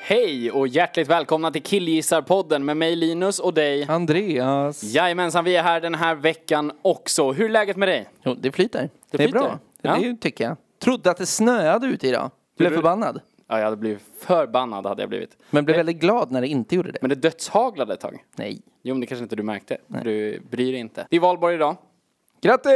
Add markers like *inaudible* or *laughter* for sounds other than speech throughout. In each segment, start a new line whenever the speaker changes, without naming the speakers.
Hej och hjärtligt välkomna till Killgissarpodden med mig Linus och dig.
Andreas.
Jajamensan, vi är här den här veckan också. Hur är läget med dig?
Jo, det flyter. Det,
flyter.
är bra.
Ja.
Det är ju, tycker jag. Trodde att det snöade ute idag. Blev
du?
förbannad.
Ja, jag hade blivit förbannad hade jag blivit.
Men blev väldigt glad när det inte gjorde det.
Men det dödshaglade ett tag.
Nej.
Jo, men det kanske inte du märkte. för Du bryr dig inte. Det är valborg idag.
Grattis!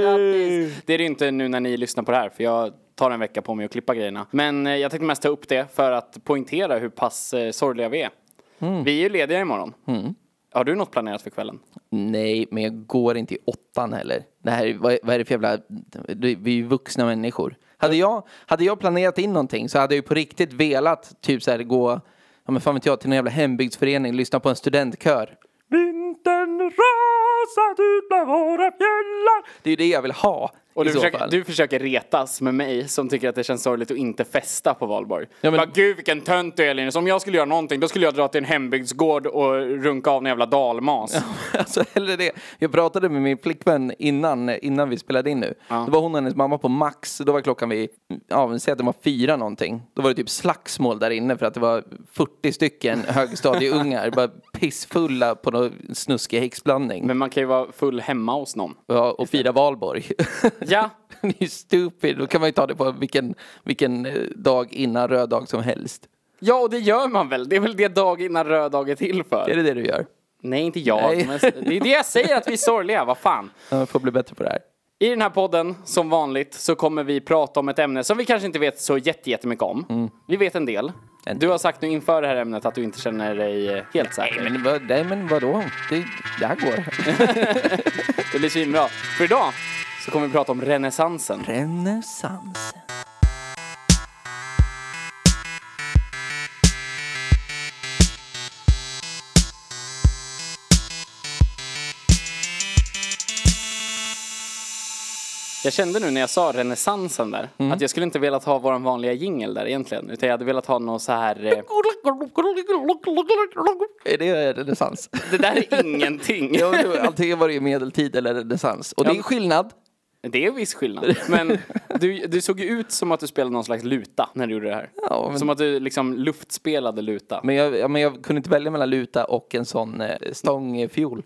Grattis! Det är det ju inte nu när ni lyssnar på det här, för jag tar en vecka på mig att klippa grejerna. Men eh, jag tänkte mest ta upp det för att poängtera hur pass eh, sorgliga vi är. Vi är ju lediga imorgon. Har du något planerat för kvällen?
Nej, men jag går inte i åttan heller. Det här, är- vad, vad är det för jävla... det- Vi är ju vuxna människor. Hade jag, hade jag planerat in någonting så hade jag ju på riktigt velat typ så här gå, ja men fan vet jag, till någon jävla hembygdsförening, lyssna på en studentkör. Vintern rasat ut med våra fjällar. Det är ju det jag vill ha.
Och
i
du
så
försöker,
fall.
du försöker retas med mig som tycker att det känns sorgligt att inte festa på valborg.
Ja,
Ja,
men-
men... Gud vilken tönt du är Linus, om jag skulle göra någonting då skulle jag dra till en hembygdsgård och runka av en jävla dalmas.
*laughs* Alltså hellre det. Jag pratade med min flickvän innan, innan vi spelade in nu. Då var hon och hennes mamma på Max. Då var klockan vid, ja men säg att det var fyra någonting. Då var det typ slagsmål där inne för att det var 40 stycken
*laughs*
högstadieungar. bara pissfulla på någon snuskig häxblandning.
Men man kan ju vara full hemma hos någon.
Ja, och fira valborg.
*laughs* Ja.
*laughs* det är ju stupid. Då kan man ju ta det på vilken, vilken eh, dag innan röd dag som helst.
Ja, och det gör man väl? Det är väl det dag innan röd dag är till för?
Är det det du gör?
Nej, inte jag.
Nej.
Men det är det jag säger, att vi är sorgliga. Vad fan.
Jag får bli bättre på det här.
I den här podden, som vanligt, så kommer vi prata om ett ämne som vi kanske inte vet så jätte- jättemycket om. Vi vet Mm. en del.
En
Du har sagt nu inför det här ämnet att du inte känner dig eh, helt säker.
Men, vad, nej, men vadå? Det, det här går.
Det blir svinbra. För idag så kommer vi prata om renässansen.
Renässansen.
Jag kände nu när jag sa renässansen där,
Mm.
att jag skulle inte velat ha vår vanliga jingel där egentligen, utan jag hade velat ha något så här... Eh, *laughs*
Är det renässans?
det där är ingenting.
Ja, men det var- Antingen var det ju medeltid eller renässans. Och det är skillnad.
*laughs* Det är viss skillnad. Men du, du såg ju ut som att du spelade någon slags luta när du gjorde det här.
Ja, men-
Som att du liksom luftspelade luta.
Men jag, ja, men jag kunde inte välja mellan luta och en sån eh, stångfiol.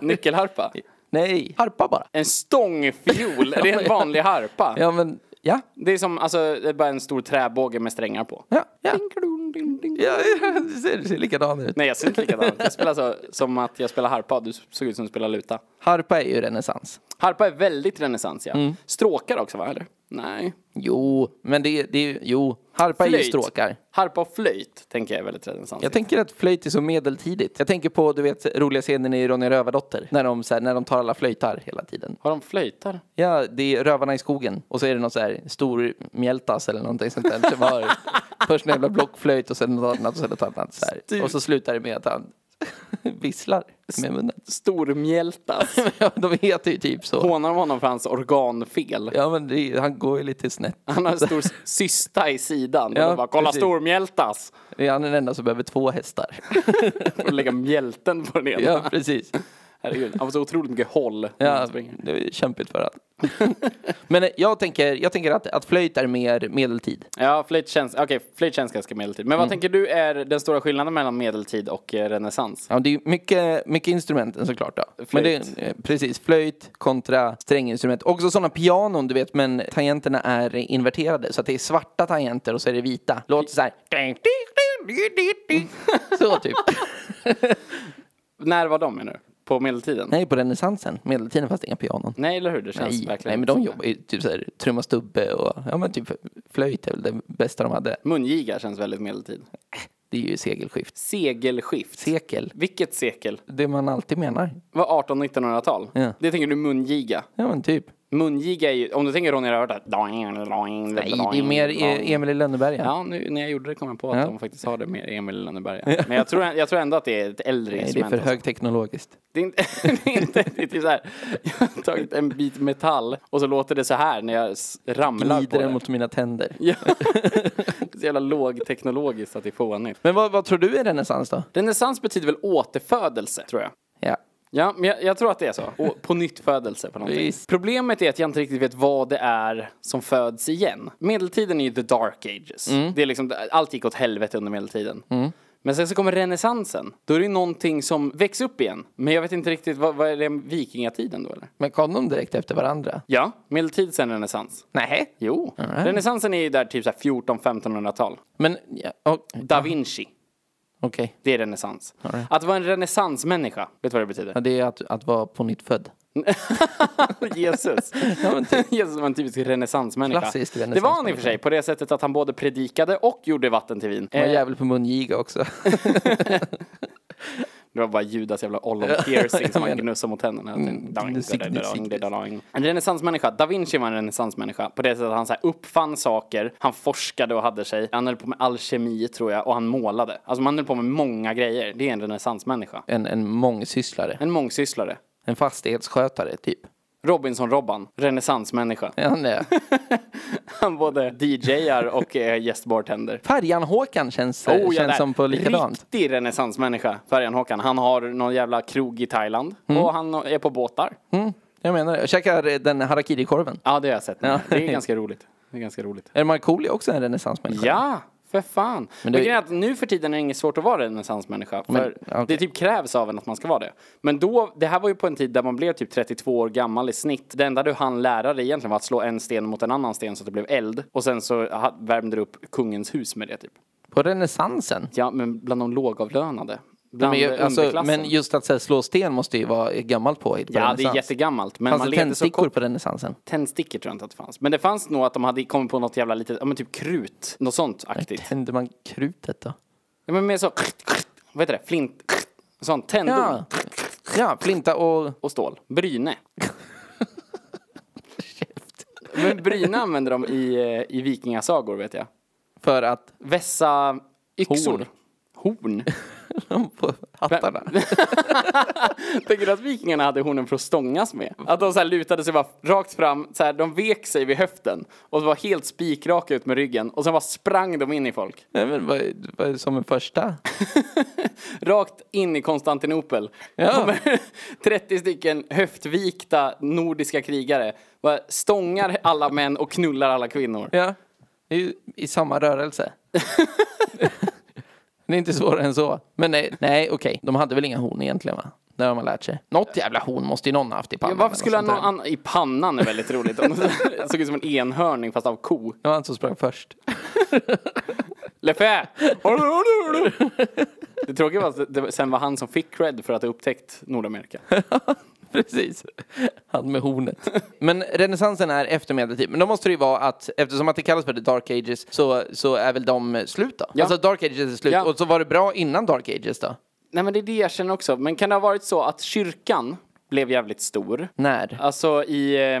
Nyckelharpa.
Nej, harpa bara.
En stångfiol, det är en vanlig harpa.
Ja, men ja.
Det är som, alltså, det är bara en stor träbåge med strängar på.
Ja, ja.
Ding-a-dong, ding-ding.
ja, ja det, ser, det ser likadan ut.
Nej jag ser inte likadant Jag spelar så, som att jag spelar harpa, du såg ut som att du spelar luta.
Harpa är ju renässans.
Harpa är väldigt renässans ja.
Mm.
Stråkar också va eller? Nej.
Jo, men det, det är ju, jo, harpa är ju stråkar.
Harpa och flöjt tänker jag är väldigt renässans.
Jag tänker att flöjt är så medeltidigt. Jag tänker på, du vet, roliga scenen i Ronja Rövardotter. När de, så här, när de tar alla flöjtar hela tiden.
Har de flöjtar?
Ja, det är Rövarna i skogen. Och så är det någon så här stor mjältas eller någonting sånt där. Som
*laughs*
har först en jävla blockflöjt och sen något annat och sen något annat. Så här. Och så slutar det med att han *laughs* visslar med munnen.
Stormjältas.
*laughs* Ja, de heter ju typ så.
Hånar de honom för hans organfel?
Ja, men det, är- han går ju lite snett.
Han har
*laughs*
en stor cysta i sidan.
Ja,
och de bara, kolla
precis.
stormjältas!
Det är han den enda som behöver två
*laughs*
hästar.
Och lägga mjälten på den ena.
Ja, precis.
Herregud, han får så otroligt mycket håll när
Ja,
han springer.
det är kämpigt för han. Men eh, jag tänker, jag tänker att, att flöjt är mer medeltid.
Ja, flöjt känns, okej, flöjt känns ganska medeltid.
Mm.
Men vad tänker du är den stora skillnaden mellan medeltid och eh, renässans?
Ja, det är ju mycket, mycket instrumenten såklart. Då. Men det,
Flöjt.
eh, precis, flöjt kontra stränginstrument. Också sådana pianon, du vet, men tangenterna är inverterade. Så att det är svarta tangenter och så är det vita. Låter så här. *laughs* Så typ.
När var de menar du? På medeltiden?
Nej, på renässansen. Medeltiden fast inga pianon.
Nej, eller hur? Det känns
Nej, nej,
verkligen
men de
inte så.
jobbar ju typ så här, trumma stubbe och ja, men typ flöjt är väl det bästa de hade.
Mungiga känns väldigt medeltid.
Det är ju segelskift.
Segelskift.
Sekel,
Vilket sekel?
det man alltid menar.
Var 18 och 1900-tal?
Ja.
Det tänker du mungiga?
Ja, men typ.
Mungiga är ju, om du tänker Ronny Rövarda. Nej,
Nej, det är mer E- Emil i Lönneberga.
Ja, nu, när jag gjorde det kom jag på att
Ja.
de faktiskt har det med Emil i Lönneberga. Men jag tror, jag tror ändå att det är ett äldre
Nej, det är
instrument.
för
alltså.
högteknologiskt.
Det är inte, *laughs* det är inte det är typ så här. Jag har tagit en bit metall och så låter det så här när jag s- ramlar
Glider
på det.
den mot mina tänder.
Ja. Så jävla lågteknologiskt att det är fånigt.
Men vad, vad tror du är renässans då?
Renässans betyder väl återfödelse, tror jag.
Ja.
Ja, men jag, jag tror att det är så. Å-
*laughs*
På nytt födelse på någonting.
Visst.
Problemet är att jag inte riktigt vet vad det är som föds igen. Medeltiden är ju the dark ages.
Mm.
Det är liksom, allt gick åt helvete under medeltiden. Men sen så kommer renässansen. Då är det ju någonting som väcks upp igen. Men jag vet inte riktigt, vad, vad är det vikingatiden då eller?
Men kom de direkt efter varandra?
Ja, medeltid sen renässans.
Nej.
Jo, renässansen är ju där typ 14-1500-tal.
Men, ja, och- okej.
Da Vinci, det är renässans. Att vara en renässansmänniska, vet du vad det
Ja,
betyder?
det är att, att vara på nytt född.
*laughs* Jesus.
Ja, men typ.
*laughs* Jesus var en typisk renässansmänniska.
Klassisk
Det var han i och för sig,
renässansmänniska.
på det sättet att han både predikade och gjorde vatten till vin.
Man
Eh,
är jävel på mungiga också.
Det var bara Judas jävla ollon
*laughs*
piercing som han
menar.
gnussade mot tänderna.
det sitter- det sitter.
Dang, En renässansmänniska. Da Vinci var en renässansmänniska på det sättet att han så här uppfann saker, han forskade och hade sig, han höll på med alkemi tror jag och han målade. Alltså man höll på med många grejer. Det är en renässansmänniska.
En, en mångsysslare.
En mångsysslare.
En fastighetsskötare, typ.
Robinson-Robban,
*laughs*
renässansmänniska.
Är han det?
Han både DJar och eh, gästbartender.
Färjan-Håkan känns,
Oh, ja,
känns
där.
som på likadant.
Riktig renässansmänniska, Färjan-Håkan. Han har någon jävla krog i Thailand och han är på båtar.
Mm, jag menar det. Jag käkar den harakiri-korven.
Ja, det har jag sett. Det är ganska roligt. Det är ganska roligt.
Är Markoolio också en renässansmänniska?
Ja, för fan. Men,
det-
grejen är att nu för tiden är det inget svårt att vara renässansmänniska. För
Men, okej.
Det typ krävs av en att man ska vara det. Men då, det här var ju på en tid där man blev typ 32 år gammal i snitt. Det enda du hann lära dig egentligen var att slå en sten mot en annan sten så att det blev eld. Och sen så ha- värmde du upp kungens hus med det typ.
På renässansen?
Ja, men bland de lågavlönade. Bland
Men, ju- alltså,
underklassen.
men just att så här, slå sten måste ju vara ett gammalt påhitt på
Ja, det är
renässans.
jättegammalt. Men
Fanns
man
det
levde så
tändstickor
kort.
på renässansen?
Tändstickor tror jag inte att det fanns. Men det fanns nog att de hade kommit på något jävla litet, ja men typ krut. Något sånt aktigt.
Tände man krutet då?
Ja, men mer så, vad heter det, flint, sånt, tändor
Ja, Mm, ja flinta och...
och stål.
*laughs*
Bryne. men bryne använder de i, eh, i vikingasagor vet jag.
För att... *laughs*
Vässa yxor.
Horn.
Horn?
på hattarna.
Tänker du att vikingarna hade hornen för att stångas med? Att de så här lutade sig bara rakt fram, så här, de vek sig vid höften och var helt spikraka ut med ryggen och sen bara sprang de in i folk.
*laughs* Nej, men vad, är- vad är det som en första?
Rakt in i Konstantinopel. *laughs*
Ja.
Kommer 30 stycken höftvikta nordiska krigare. Bara stångar alla män och knullar alla kvinnor.
Ja, det är ju i samma rörelse. *laughs* det är inte svårare än så. Men nej, nej okej. De hade väl inga horn egentligen va? Det har man lärt sig. Något jävla horn måste ju någon ha haft i
Ja,
pannan.
varför skulle
eller
han
något
någon
sånt där.
annan... I pannan är väldigt roligt. Om det *laughs* såg ut som en enhörning fast av ko.
Det var han som sprang först.
Leffe! Det tråkiga var att det sen var han som fick cred för att ha upptäckt Nordamerika.
*laughs* Precis. Han med hornet. Men renässansen är efter medeltid. Men då måste det ju vara att eftersom att det kallas för the dark ages så, så är väl de slut då?
Ja.
Alltså dark ages är slut.
Ja.
Och så var det bra innan dark ages då?
Nej men det är det jag känner också. Men kan det ha varit så att kyrkan blev jävligt stor?
När?
Alltså i... Eh,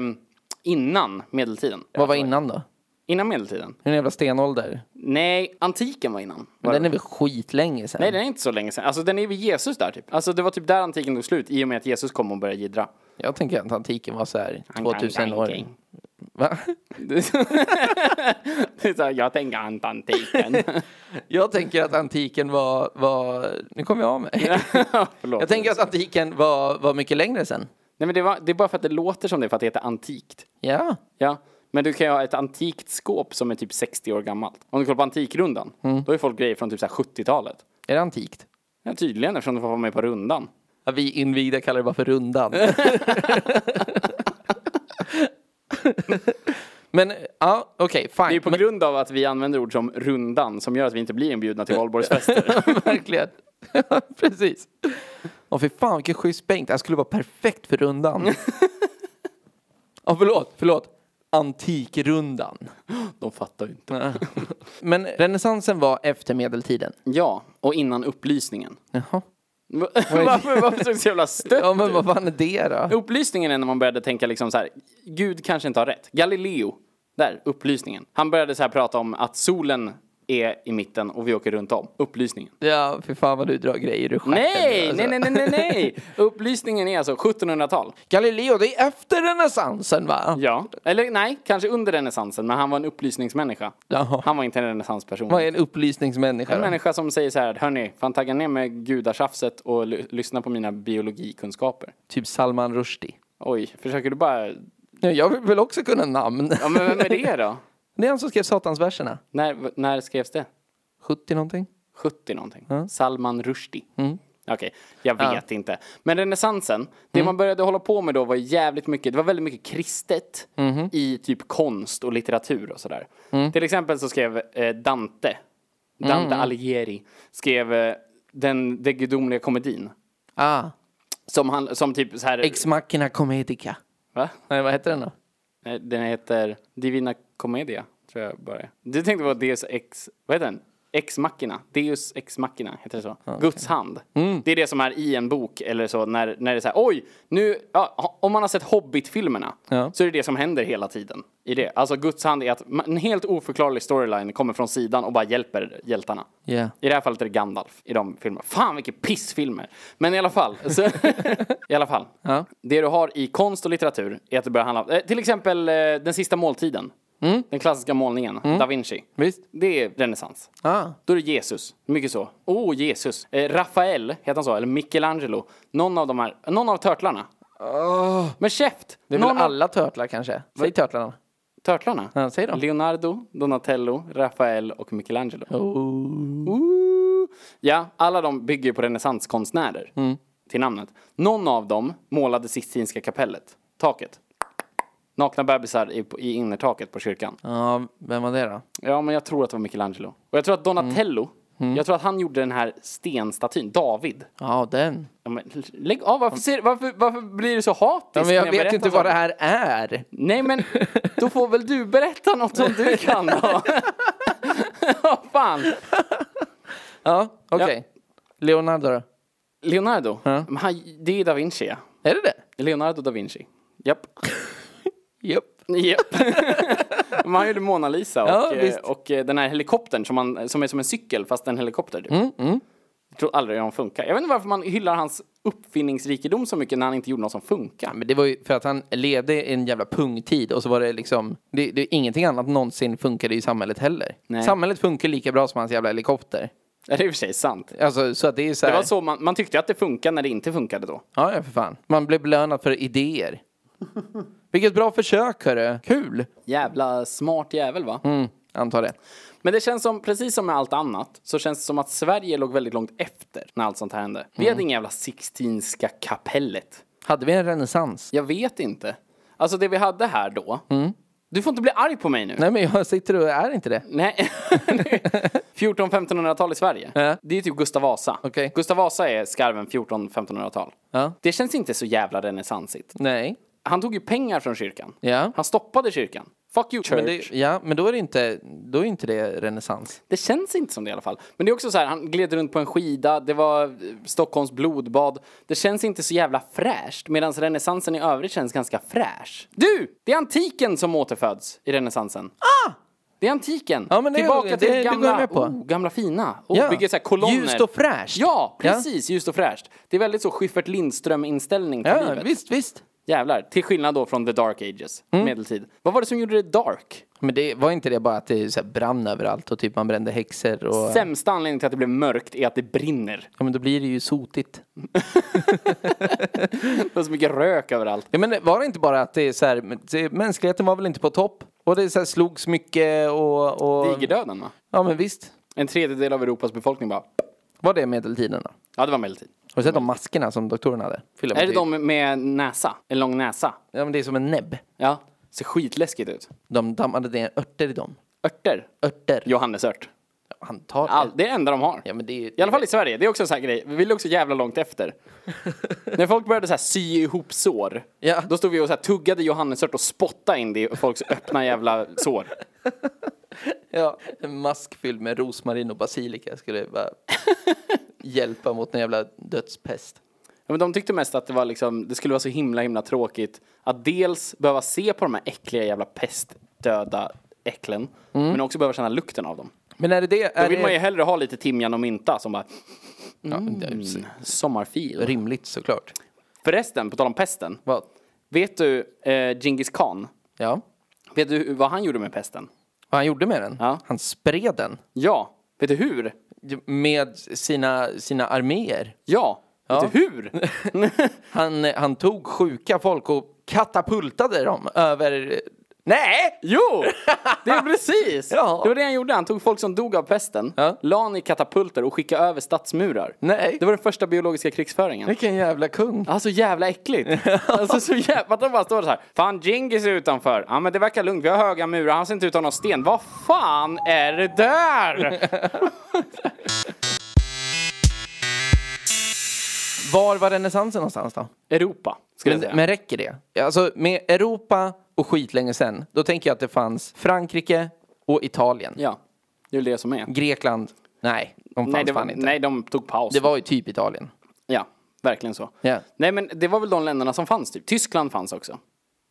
innan medeltiden.
Vad var innan då?
Innan medeltiden?
En jävla stenålder.
Nej, antiken var innan.
Men
Var
den
det.
är väl skitlänge sen?
Nej, den är inte så länge sedan. Alltså den är vid Jesus där typ. Alltså det var typ där antiken tog slut i och med att Jesus kom och började jiddra. *laughs*
Jag tänker att antiken var så här 2000
Ankan,
år.
ankan.
Va? *laughs*
Det är så här, jag tänker ant antiken. *laughs*
Jag tänker att antiken var, var... Nu kom jag av mig.
Förlåt.
Jag tänker att antiken var, var mycket längre sen.
Nej men det, var, det är bara för att det låter som det för att det heter antikt.
Ja.
Ja, men du kan ju ha ett antikt skåp som är typ 60 år gammalt. Om du kollar på Antikrundan, då är folk grejer från typ så här 70-talet.
Är det antikt?
Ja, tydligen eftersom de får vara med på rundan.
Ja, vi invigda kallar det bara för
*laughs*
rundan. Men, ja, okej,
Det är ju
fine.
på grund av att vi använder ord som rundan som gör att vi inte blir inbjudna till valborgsfester.
Men, verkligen. *laughs* Precis. Åh, fy fan vilken schysst bänk. Det här skulle vara perfekt för
*laughs*
rundan. Ja, förlåt, förlåt. Antikrundan.
de fattar ju inte. *laughs*
Men renässansen var efter medeltiden.
Ja, och innan upplysningen.
Jaha.
*laughs* varför, varför så jävla stött?
Ja, men vad fan är det då?
Upplysningen är när man började tänka liksom så här, Gud kanske inte har rätt. Galileo, där, upplysningen. Han började så här prata om att solen är i mitten och vi åker runt om. Upplysningen.
Ja, för fan vad du drar grejer ur stjärten nu,
Nej,
alltså.
nej, nej, nej, nej, nej!
*laughs*
Upplysningen är alltså 1700-tal.
Galileo, det är efter renässansen va?
Ja, eller nej, kanske under renässansen, men han var en upplysningsmänniska.
Jaha.
Han var inte en renässansperson.
Vad är en upplysningsmänniska
En
då?
människa som säger så här, hörni, fan tagga ner med gudatjafset och l- lyssna på mina biologikunskaper.
Typ Salman Rushdie.
Oj, försöker du bara...
Ja, Jag vill väl också kunna namn.
Ja, men vem är
*laughs*
det då?
Det är han som skrev Satansverserna.
När, v- när skrevs det?
70 någonting.
70 någonting. Salman Rushdie. Okej, jag vet inte. Men renässansen, det man började hålla på med då var jävligt mycket, det var väldigt mycket kristet i typ konst och litteratur och sådär. Till exempel så skrev eh, Dante, Dante Alighieri, skrev eh, den, den gudomliga komedin.
Ah,
Som, han, som typ så här...
Ex Machina Comedica.
va?
Nej, vad heter den då?
Nej, Den heter Divina Commedia, tror jag bara är. Du tänkte på Deus Ex... Vad heter den? Ex Machina. Deus Ex Machina, heter det så? Guds hand. Det är det som är i en bok eller så, när, när det är så här, oj, nu... Ja, ha- om man har sett Hobbit-filmerna
Ja.
så är det det som händer hela tiden i det. Alltså, Guds hand är att ma- en helt oförklarlig storyline kommer från sidan och bara hjälper hjältarna.
Ja.
I det här fallet är det Gandalf i de filmerna. Fan vilka pissfilmer! Men i alla fall. Så, *laughs* I alla fall.
Ja.
Det du har i konst och litteratur är att det börjar handla om, eh, till exempel eh, Den sista måltiden.
Mm.
Den klassiska målningen, da Vinci.
Visst?
Det är renässans.
Ah.
Då är det Jesus. Mycket så. Åh, oh, Jesus. Eh, Rafael, heter han så? Eller Michelangelo. Någon av de här, någon av törtlarna. Men käft!
Ah. Det är
någon
väl alla törtlar kanske? Säg törtlarna.
av törtlarna.
Ja, säg dem.
Leonardo, Donatello, Rafael och Michelangelo. Ooh. Ja, alla de bygger på renässanskonstnärer.
Mm.
Till namnet. Någon av dem målade Sistinska kapellet. Taket. Nakna bebisar i, i innertaket på kyrkan.
Ja, vem var det då?
Ja, men jag tror att det var Michelangelo. Och jag tror att Donatello,
Mm.
jag tror att han gjorde den här stenstatyn, David.
Ja, den.
Ja, men, lägg av, varför, ser, varför, varför blir du så hatisk?
Ja, men
när
jag vet
berättar
inte vad
saker?
det här är.
Nej men, då får väl du berätta något som du
*laughs*
kan då. Ja, fan.
Ja, okej. Leonardo då?
Leonardo, men han, det är da Vinci ja.
Är det det?
Leonardo da Vinci. Japp.
Japp.
Japp. *laughs* Men han gjorde Mona Lisa och,
Ja,
eh,
visst.
och eh, den här helikoptern som, man, som är som en cykel fast en helikopter typ. Jag tror aldrig de funkar. Jag vet inte varför man hyllar hans uppfinningsrikedom så mycket när han inte gjorde något som funkar.
Men det var ju för att han levde i en jävla pungtid och så var det liksom, det, det, ingenting annat någonsin funkade i samhället heller.
Nej.
Samhället funkar lika bra som hans jävla helikopter.
Ja, Det är i och för sig sant.
Alltså så att det är så
Det
här.
var så man, man tyckte att det funkade när det inte funkade då.
Ja, ja för fan. Man blev belönad för idéer. Vilket bra försök hörru. Kul.
Jävla smart jävel va?
Mm, antar det.
Men det känns som, precis som med allt annat, så känns det som att Sverige låg väldigt långt efter när allt sånt här hände. Vi hade inga jävla Sixtinska kapellet.
Hade vi en renässans?
Jag vet inte. Alltså det vi hade här då.
Mm.
Du får inte bli arg på mig nu.
Nej men jag sitter och är inte det.
Nej. *laughs* 14-1500-tal i Sverige.
Ja.
Det är typ Gustav Vasa.
Okej.
Gustav Vasa är skarven 14-1500-tal.
Ja.
Det känns inte så jävla renässansigt.
Nej.
Han tog ju pengar från kyrkan.
Ja.
Han stoppade kyrkan. Fuck you church.
Men det, ja, men då är det inte, då är inte det renässans.
Det känns inte som det i alla fall. Men det är också så här, han gled runt på en skida, det var eh, Stockholms blodbad. Det känns inte så jävla fräscht, medan renässansen i övrigt känns ganska fräsch. Du! Det är antiken som återföds i renässansen. Ah! Det är antiken.
Ja, men det-
Tillbaka
det-
till
det går
gamla,
jag med på.
Oh, gamla fina. Oh,
Ja.
Bygger så här kolonner.
Ljust och fräscht.
Ja,
Ja.
precis. Ljust och fräscht. Det är väldigt så Schyffert Lindström-inställning på
Ja,
livet.
visst, visst.
Jävlar. Till skillnad då från the dark ages,
Mm.
medeltid. Vad var det som gjorde det dark?
Men det var inte det bara att det så här brann överallt och typ man brände häxor och...
Sämsta anledningen till att det blev mörkt är att det brinner.
Ja men då blir det ju sotigt.
Det var så mycket rök överallt.
Ja men var det inte bara att det är så här, men det, mänskligheten var väl inte på topp? Och det så här slogs mycket och... och...
Digerdöden va?
Ja men visst.
En tredjedel av Europas befolkning bara...
Var det medeltiden då?
Ja, det var medeltid.
Har du sett de maskerna som doktorn hade? Fylla med
Mm. Är det
tyg.
de med näsa? En lång näsa?
Ja men det är som en näbb.
Ja. Ser skitläskigt ut.
De dammade ner örter i dem.
Örter?
Örter.
Johannesört.
Han tar det.
All, det är det enda de har.
Ja men det är ju... *laughs*
I alla fall i Sverige. Det är också en sån här grej. Vi låg också jävla långt efter. När folk började så här sy ihop sår.
Ja.
Då stod vi och så här tuggade johannesört och spottade in det i folks öppna jävla sår. *laughs*
Ja, en mask fylld med rosmarin och basilika skulle vara hjälpa mot en jävla dödspest.
Ja, men de tyckte mest att det, var liksom, det skulle vara så himla himla tråkigt att dels behöva se på de här äckliga jävla pestdöda äcklen, men också behöva känna lukten av dem.
Men är det det?
Då
Mm. Är
vill man ju
det
hellre ha lite timjan och mynta som bara mm,
ja, det är ju
sommarfil.
rimligt såklart.
Förresten, på tal om pesten.
Vad?
Vet du eh, Genghis khan?
Ja.
Vet du vad han gjorde med pesten?
Vad han gjorde med den?
Ja.
Han spred den.
Ja. Vet du hur?
Med sina, sina arméer.
Ja.
Ja.
Vet du hur?
*laughs*
*laughs*
Han, han tog sjuka folk och katapultade dem över... Nej! *laughs*
Jo! Det är precis!
Ja.
Det var det han gjorde. Han tog folk som dog av pesten,
Ja.
la han i katapulter och skickade över stadsmurar.
Nej.
Det var den första biologiska krigsföringen.
Vilken jävla kung.
Alltså
*laughs*
jävla äckligt. Alltså så jävla... Att de bara står så här. Fan, Djingis är utanför. Ja men det verkar lugnt, vi har höga murar, han ser inte ut att ha någon sten. Vad fan är det där?
*laughs* Var var renässansen någonstans då?
Europa, skulle jag säga.
Men, men räcker det? Alltså med Europa och skitlänge sen, då tänker jag att det fanns Frankrike och Italien.
Ja, det är väl det som är.
Grekland, nej, de fanns
Nej, det var,
fan inte.
nej, de tog paus.
Det var ju typ Italien.
Ja, verkligen så.
Ja.
Nej men det var väl de länderna som fanns typ. Tyskland fanns också.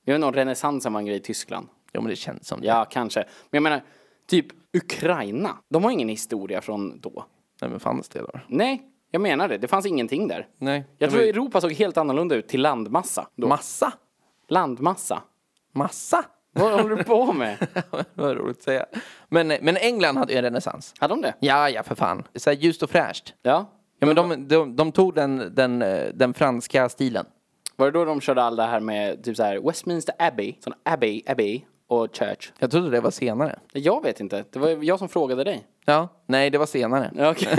Jag vet inte om renässansen var en grej i Tyskland.
Jo men det känns som det.
Ja, kanske. Men jag menar, typ Ukraina. De har ingen historia från då.
Nej men fanns det då?
Nej, jag menar det. Det fanns ingenting där.
Nej. Mm.
Jag
Det
tror
var ju-
Europa såg helt annorlunda ut till landmassa. Då.
Massa?
landmassa?
Massa?
Vad håller du på med?
*laughs* det var roligt att säga. Men, men England hade ju en renässans.
Hade de det?
Ja, ja för fan. Så här ljust och fräscht.
Ja.
Ja men de, de, de tog den, den, eh, den franska stilen.
Var det då de körde all det här med typ så här Westminster Abbey, sån Abbey, Abbey och Church?
Jag trodde det var senare.
Jag vet inte. Det var jag som frågade dig.
Ja, nej det var senare.
Okay.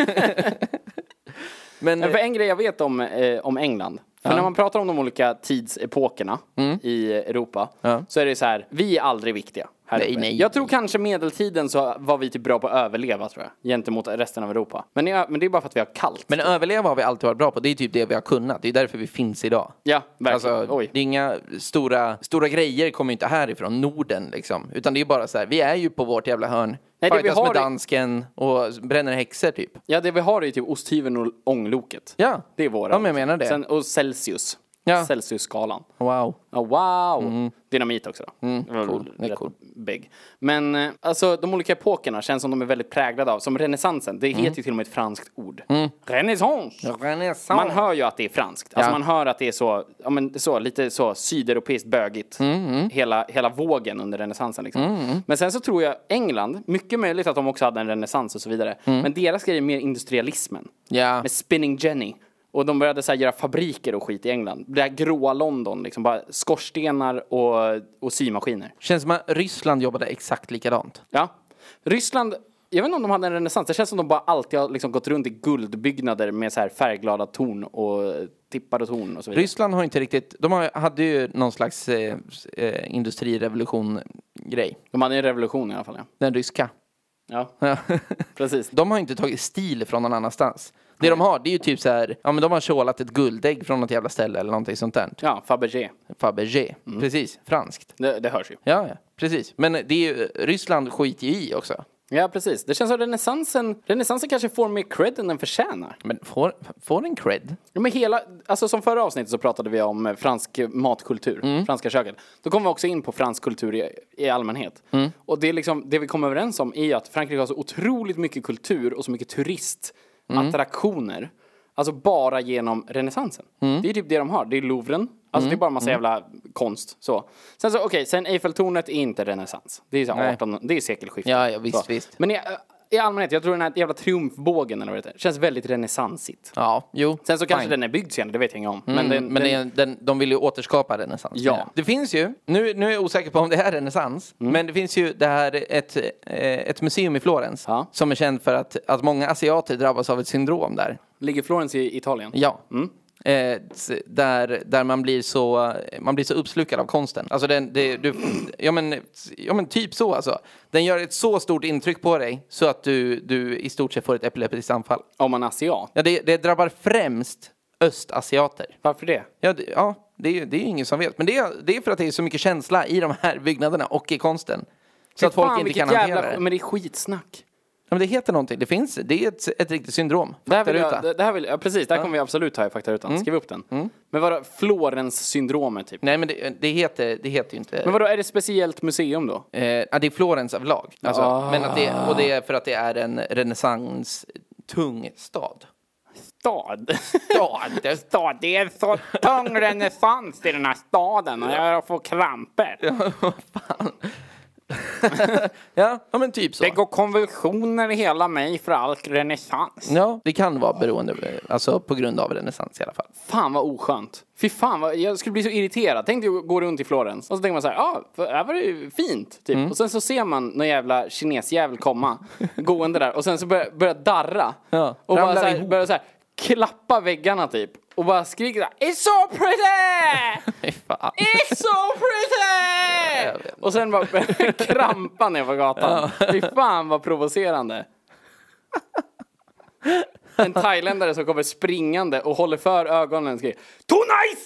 Men,
Men för en grej jag vet om, eh, om England. För när man pratar om de olika tidsepokerna i Europa
Mm. Ja.
så är det så här, vi är aldrig viktiga. Här
Nej,
uppe.
nej,
jag tror kanske medeltiden så var vi typ bra på att överleva tror jag, gentemot resten av Europa. Men, jag, men det är bara för att vi har kallt.
men överleva har vi alltid varit bra på. Det är typ det vi har kunnat. Det är därför vi finns idag.
ja, verkligen.
Alltså,
Oj.
det är inga stora, stora grejer kommer ju inte härifrån Norden liksom. Utan det är bara så här, vi är ju på vårt jävla hörn.
vi
Fightas
har
med
är-
dansken och bränner häxor typ.
Ja, det vi har är ju typ osthyveln och ångloket.
Ja.
Det är våra.
Ja, men jag menar det.
Sen, och Celsius.
Ja.
Celsiusskalan.
Wow.
Ja, wow! Dynamit också. då. Det var
Mm. cool. Det är
rätt
cool.
Big. Men eh, alltså, de olika epokerna känns som de är väldigt präglade av, som renässansen. Det
Mm.
heter ju till och med ett franskt ord. Renässans!
Renaissance.
Man hör ju att det är franskt. Alltså man hör att det är så, ja, men det är så lite så sydeuropeiskt bögigt.
Mm,
Hela, hela vågen under renässansen liksom. Men sen så tror jag England, mycket möjligt att de också hade en renässans och så vidare.
Mm.
Men deras grej är mer industrialismen.
Ja.
Med Spinning Jenny. Och de började så här, göra fabriker och skit i England. Det här gråa London liksom, bara skorstenar och, och symaskiner.
Känns som att Ryssland jobbade exakt likadant.
Ja. Ryssland, jag vet inte om de hade en renässans. Det känns som de bara alltid har liksom gått runt i guldbyggnader med så här färgglada torn och tippar och torn och så vidare.
Ryssland har inte riktigt, de har, hade ju någon slags eh, s- eh, industrirevolution-grej.
de hade en revolution i alla fall,
Den ryska. *laughs*
ja. ja.
Ja.
Precis.
de har inte tagit stil från någon annanstans. Det de har, det är ju typ så här, ja men de har tjålat ett guldägg från något jävla ställe eller någonting sånt där.
Ja, Fabergé.
Fabergé.
Mm.
Precis, franskt.
Det, det hörs ju.
Ja, ja, precis. Men det är ju, Ryssland skiter ju i också.
Ja, precis. Det känns som renässansen, renässansen kanske får mer cred än den förtjänar.
Men får, får den cred?
Ja, men hela, alltså som förra avsnittet så pratade vi om eh, fransk matkultur,
Mm.
franska köket. Då kom vi också in på fransk kultur i, i allmänhet.
Mm.
Och det, är liksom, det vi kom överens om är ju att Frankrike har så otroligt mycket kultur och så mycket
Mm.
turistattraktioner. Alltså bara genom renässansen. Det är typ det de har. Det är Louvren. Alltså
Mm.
det är bara massa jävla konst. Så. Sen så, okej, sen Eiffeltornet är inte renässans. Det är så här
Nej.
18, det är sekelskiftet.
Ja, ja, visst,
så.
visst.
Men i, eh, i allmänhet, jag tror den här jävla triumfbågen eller vad det heter, känns väldigt renässansigt.
Ja, jo.
Sen så kanske
fine. Mm,
den är byggd senare, det vet jag inget om. men den,
Men
Mm. den,
det är, den, de vill ju återskapa renässans.
Ja.
menar jag. Det finns ju, nu, nu är jag osäker på om det är renässans,
Mm.
men det finns ju det här ett, eh, ett museum i Florens
Ja.
som är känd för att, att många asiater drabbas av ett syndrom där.
ligger Florens i Italien?
Ja. Eh, s- där, där man blir så, man blir så uppslukad av konsten. Alltså den, det, du, ja, men, ja men typ så alltså. Den gör ett så stort intryck på dig så att du, du i stort sett får ett epileptiskt anfall.
Om man är asiat?
Ja, det, det drabbar främst östasiater.
Varför det?
Ja, det, ja, det är ju det är ju ingen som vet. Men det är, det är för att det är så mycket känsla i de här byggnaderna och i konsten. Så att folk inte
vilket
kan hantera
jävla-
det.
Men det är skitsnack.
men det heter någonting. Det finns, det är ett, ett riktigt syndrom.
Det här vill jag,
Faktaruta.
det- det här vill, ja, precis, det här kommer vi absolut ha i faktarutan.
Mm.
Skriv upp den. Men vadå, Florens-syndromet typ?
Nej men det, det, heter, det heter ju inte...
Men vadå, är det ett speciellt museum då?
Eh, ja, det är Florens av lag. Alltså, men att det, och det är för att det är en renässans-tung stad.
Stad?
Stad!
*laughs* Stad, det är så tung renässans i den här staden och jag får kramper.
*laughs* ja, ja, men typ så.
Det går konvulsioner i hela mig för all renässans.
Ja, det kan vara beroende, alltså på grund av renässans i alla fall. *laughs*
Fan vad oskönt. Fy fan, vad, jag skulle bli så irriterad. Tänk dig att gå runt i Florens och så tänker man så här, ja, ah, här var det ju fint. Typ.
Mm.
Och sen så ser man någon jävla
*laughs*
kinesjävel komma gående där och sen så börjar, börjar darra.
Ja,
och bara
ramlar
så här,
ihop.
börjar så här, klappa väggarna typ. Och bara skriker så här, It's so
*laughs*
pretty!
Fy fan.
It's so
jag
pretty!
vet.
Och sen bara *laughs* börjar krampa ner på gatan. Fy fan vad provocerande. En thailändare som kommer springande och håller för ögonen och skriker Too nice!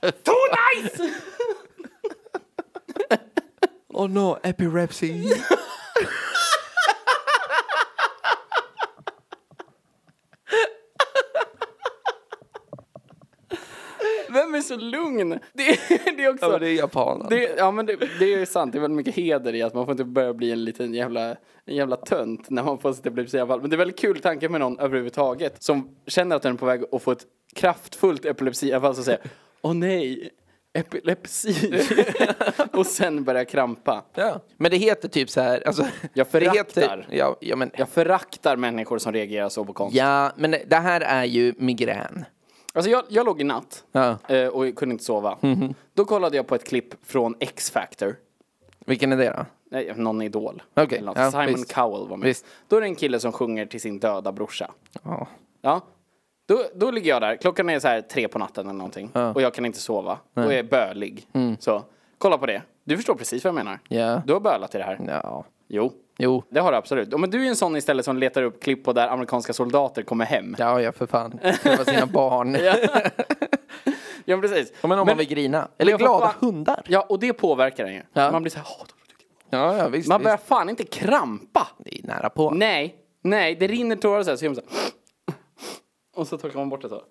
Too nice!
Oh no, epilepsy!
Vem är så lugn? Det är, det är också...
Ja, men det är japanen.
Det, ja men det, det är ju sant, det är väldigt mycket heder i att man får inte börja bli en liten jävla, en jävla tönt när man får sitt epilepsi fall. Men det är väldigt kul tanke med någon överhuvudtaget som känner att den är på väg att få ett kraftfullt epilepsianfall så säger Åh nej, epilepsi. *laughs* och sen börjar krampa.
Ja. Men det heter typ så här, alltså,
Jag
*laughs* det
föraktar.
heter, ja, ja, men,
Jag föraktar människor som reagerar så på konst.
ja, men det här är ju migrän.
Alltså jag, jag låg i natt
Ja. Mhm.
eh, och kunde inte sova. Då kollade jag på ett klipp från X-Factor.
Vilken är det då?
Nej, någon idol.
Okej,
Eller något.
ja,
Simon
visst.
Cowell var med.
Visst.
Då är det en kille som sjunger till sin döda brorsa.
Ja.
Ja. Då, då ligger jag där, klockan är så här tre på natten eller någonting. Och jag kan inte sova. Och jag är bölig. Så, kolla på det. Du förstår precis vad jag menar.
Mm. Ja. Mm.
Du har bölat i det här.
ja.
Jo.
Jo.
Det har du absolut. Ja, Men du är en sån istället som letar upp klipp på där amerikanska soldater kommer hem.
Ja, ja, för fan. Det *laughs* var sina barn.
*laughs* Ja, men precis.
Ja, men om man vill grina. Eller
jag får
glada
fan-
hundar.
Ja, och det påverkar en ju.
Ja.
Man blir så här, "Åh,
Ja, ja, visst.
man börjar
visst.
fan inte krampa.
Det är nära på.
Nej, nej, det rinner tårar så här. Så gör man så här. Och så torkar man bort det så.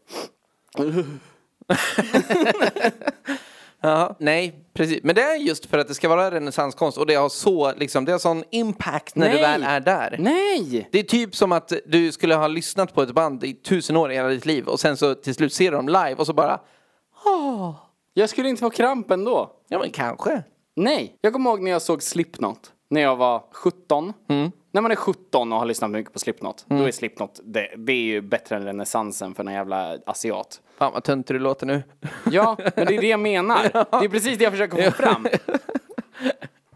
Ja, nej, precis. Men det är just för att det ska vara renässanskonst och det har så, liksom, det har sån impact när
Nej.
du väl är där.
Nej!
Det är typ som att du skulle ha lyssnat på ett band i tusen år i hela ditt liv och sen så till slut ser du dem live och så bara,
Jag skulle inte få kramp ändå.
ja men kanske.
Nej, jag kommer ihåg när jag såg Slipknot. När jag var 17. När man är 17 och har lyssnat mycket på Slipknot. Då är Slipknot, det, det är ju bättre än renässansen för någon jävla asiat.
Fan vad töntig du låter nu.
Ja,
*laughs*
men det är det jag menar. Det är precis det jag försöker få fram.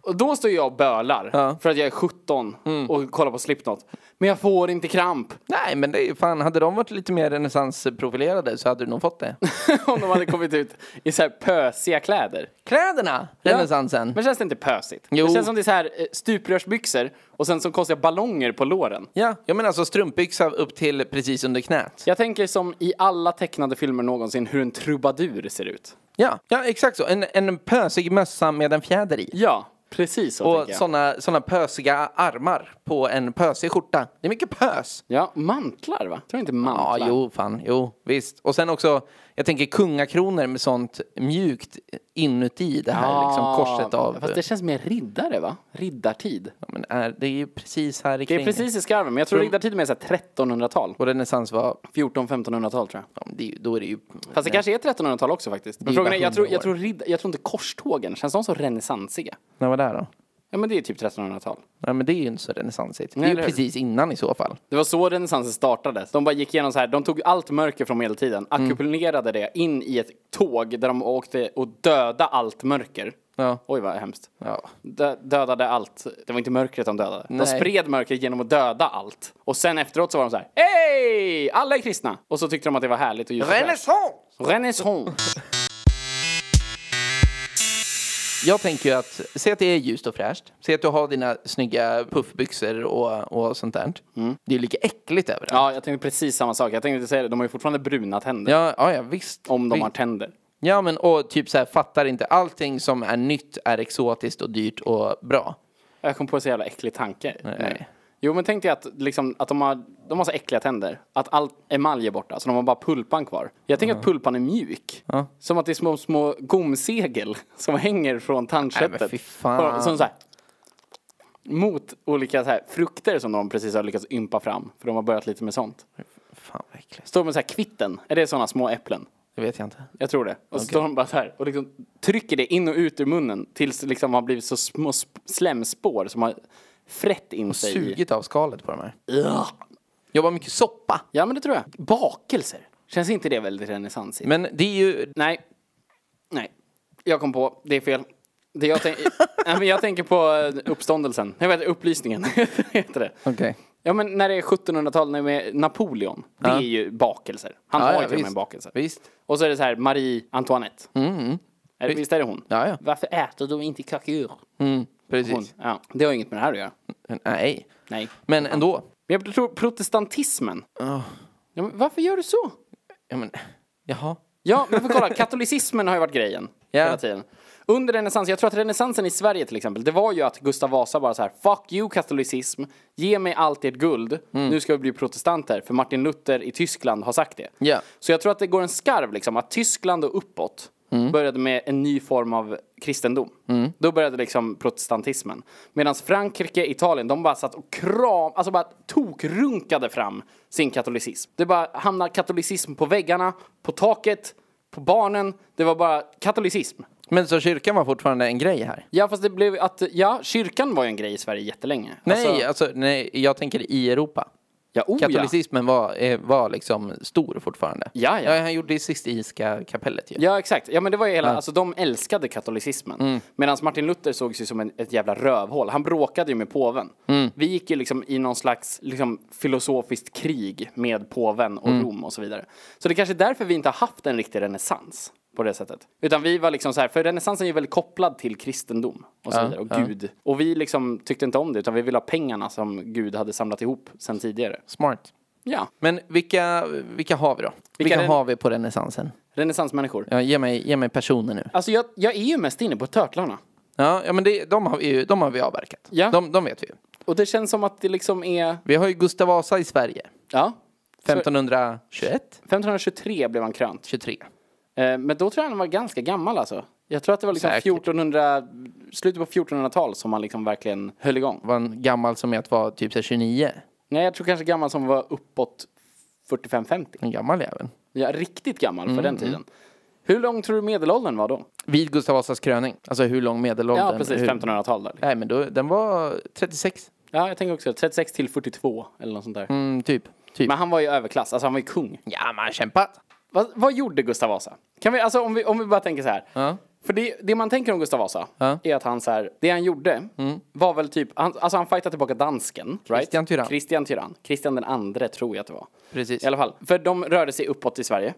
Och då står jag och bölar för att jag är 17 och kollar på Slipknot. Men jag får inte kramp.
Nej men det är ju fan, hade de varit lite mer renässansprofilerade så hade du nog fått det.
*laughs* Om de hade kommit ut i så här pösiga kläder.
*laughs* Kläderna, renässansen.
Men känns det inte pösigt?
Jo.
Det känns som det är så här eh, stuprörsbyxor och sen så konstiga ballonger på låren.
Ja, jag menar alltså strumpbyxa upp till precis under knät.
Jag tänker som i alla tecknade filmer någonsin hur en trubadur ser ut.
Ja, ja exakt så. En, en pösig mössa med en fjäder i.
Ja, precis så
Och
tänker jag.
såna, såna pösiga armar på en pösig skjorta. Det är mycket pös.
Ja, mantlar va? Tror du inte
Ja,
mantlar?
jo, fan, jo, visst. Och sen också, jag tänker kungakronor med sånt mjukt inuti det här liksom korset av...
Ah, Fast det känns mer riddare va? Riddartid.
ja, men är, det är ju precis här i
Det
kring.
är precis i skarven, men jag tror riddartid är mer så här 1300-tal.
Och renässans var,
14-1500-tal tror jag.
ja, men det, är ju- då är det ju...
Fast det kanske är 1300-tal också faktiskt. Men
är
frågan är,
bara
jag tror,
100
jag
år.
tror, ridd, jag tror inte korstågen, känns de så renässansiga?
När var det här då?
Ja men det är typ 1300-tal.
Nej, men det är ju inte så renässansigt. Det
Nej,
är
eller
ju
hur?
precis innan i så fall.
Det var så renässansen startade. De bara gick igenom så här, de tog allt mörker från medeltiden,
Mm.
ackumulerade det in i ett tåg där de åkte och döda allt mörker.
Ja.
Oj vad hemskt.
Ja.
Dö- dödade allt. Det var inte mörkret de dödade. De
Nej.
spred mörkret genom att döda allt. Och sen efteråt så var de så här, hej! Alla är kristna! Och så tyckte de att det var härligt och just
Renässans!
Renaissance!
Jag tänker ju att, se att det är ljust och fräscht. Se att du har dina snygga puffbyxor och, och sånt där.
Mm.
Det är ju lika äckligt överallt.
Ja, jag tänkte precis samma sak. Jag tänkte säga det, de har ju fortfarande bruna tänder.
Ja, ja, ja visst.
Om de
Vi-
har tänder.
Ja, men och typ så här, fattar inte. Allting som är nytt är exotiskt och dyrt och bra.
Jag kom på en så jävla äcklig tanke. nu.
Nej.
Jo, men tänk dig att, liksom, att de, har, de har så äckliga tänder. Att allt emalj är borta, så de har bara pulpan kvar. Jag tänker att pulpan är mjuk.
Ja.
Som att det är små, små gomsegel *laughs* som hänger från
Nej, men
tandköttet.
fy fan.
Och- Som så här, mot olika så här, frukter som de precis har lyckats ympa fram. För de har börjat lite med sånt.
Fan vad äckligt.
Står med så här kvitten. Är det sådana små äpplen?
Det vet jag inte.
Jag tror det. Och så står de bara så här och liksom trycker det in och ut ur munnen tills det liksom har blivit så små sp- slemspår som har frätt in sig i.
Sugit av skalet på de här.
Ja.
Jobbar mycket soppa.
ja, men det tror jag. Bakelser. Känns inte det väldigt renässansigt?
Men det är ju...
Nej. Nej. Jag kom på, det är fel. Det
*laughs*
jag, tänk- Nej, men jag tänker på eh, uppståndelsen. Jag vet, upplysningen. *laughs* heter det.
Okej.
Ja, men när det är 1700-tal, när det är Napoleon. Det är ju bakelser. Han
Ja,
har
ja,
ju till och med
visst.
en bakelse.
Visst.
Och så är det så här Marie Antoinette. Är det, visst är det hon?
Mm. Ja, ja.
Varför äter du inte kakur?
Mm,
Hon.
precis.
Ja, det har inget med det här att göra.
Nej.
Nej.
Men ändå. Ah,
Men jag tror protestantismen. Ja, men varför gör du så?
Ja, men... Jaha.
Ja, men för kolla,
*laughs*
katolicismen har ju varit grejen
Ja.
hela tiden. Under renässansen, jag tror att renässansen i Sverige till exempel, det var ju att Gustav Vasa bara så här, fuck you katolicism, ge mig allt ert guld, nu ska vi bli protestanter, för Martin Luther i Tyskland har sagt det.
Ja.
Så jag tror att det går en skarv liksom, att Tyskland och uppåt började med en ny form av kristendom. Då började liksom protestantismen. Medan Frankrike, Italien, de bara satt och kram, alltså bara tokrunkade fram sin katolicism. Det bara hamnar katolicism på väggarna, på taket, på barnen. Det var bara katolicism.
Men så kyrkan var fortfarande en grej här?
Ja, fast det blev att, ja, kyrkan var ju en grej i Sverige jättelänge.
Nej,
Alltså,
alltså, nej, jag tänker i Europa.
ja, oh, ja.
Katolicismen var, eh, var liksom stor fortfarande.
Ja, ja.
han gjorde det i Sixtinska kapellet ju.
Ja, exakt. Ja, men det var ju hela, alltså de älskade katolicismen. Medan Martin Luther sågs ju som en, ett jävla rövhål. Han bråkade ju med påven. Vi gick ju liksom i någon slags liksom, filosofiskt krig med påven och Rom och så vidare. Så det kanske är därför vi inte har haft en riktig renässans på det sättet. Utan vi var liksom så här, för renässansen är ju väldigt kopplad till kristendom och så vidare, och Gud. Och vi liksom tyckte inte om det, utan vi ville ha pengarna som Gud hade samlat ihop sen tidigare.
Smart.
Ja,
Men vilka, vilka har vi då? Vilka,
ren-
har vi på renässansen?
renässansmänniskor.
Ja, ge, mig, ge mig personer nu.
Alltså jag, jag är ju mest inne på törtlarna.
Ja, ja men det, de, har vi ju, de har vi avverkat.
Ja.
De, de vet vi ju.
Och det känns som att det liksom är
Vi har ju Gustav Vasa i Sverige.
Ja.
1521?
1523 blev han krönt.
23.
Eh, Men då tror jag han var ganska gammal alltså. Jag tror att det var liksom
Säkert.
1400, slutet på 1400-tal som han liksom verkligen höll igång.
Var en gammal som är att vara typ så här 29.
Nej, jag tror kanske gammal som var uppåt 45-50.
En gammal jävel.
Ja, riktigt gammal
Mm,
för den tiden. Hur lång tror du medelåldern var då?
Vid Gustav Vasas kröning. Alltså hur lång medelåldern?
Ja, precis.
hur...
1500-tal där.
Nej, men då, den var 36.
Ja, jag tänker också 36 till 42 eller något sånt där.
Mm, typ. typ.
Men han var ju överklass, alltså han var ju kung.
Ja, man har kämpat.
Vad, vad gjorde Gustav Vasa? Kan vi, alltså om vi, om vi bara tänker så här. För det, det man tänker om Gustav Vasa är att han så här, det han gjorde
Mm.
var väl typ, han, alltså han fightade tillbaka dansken.
Kristian
right?
Tyrann.
Kristian Tyrann. Kristian den andre tror jag att det var.
Precis. Mm.
I alla fall, för de rörde sig uppåt i Sverige.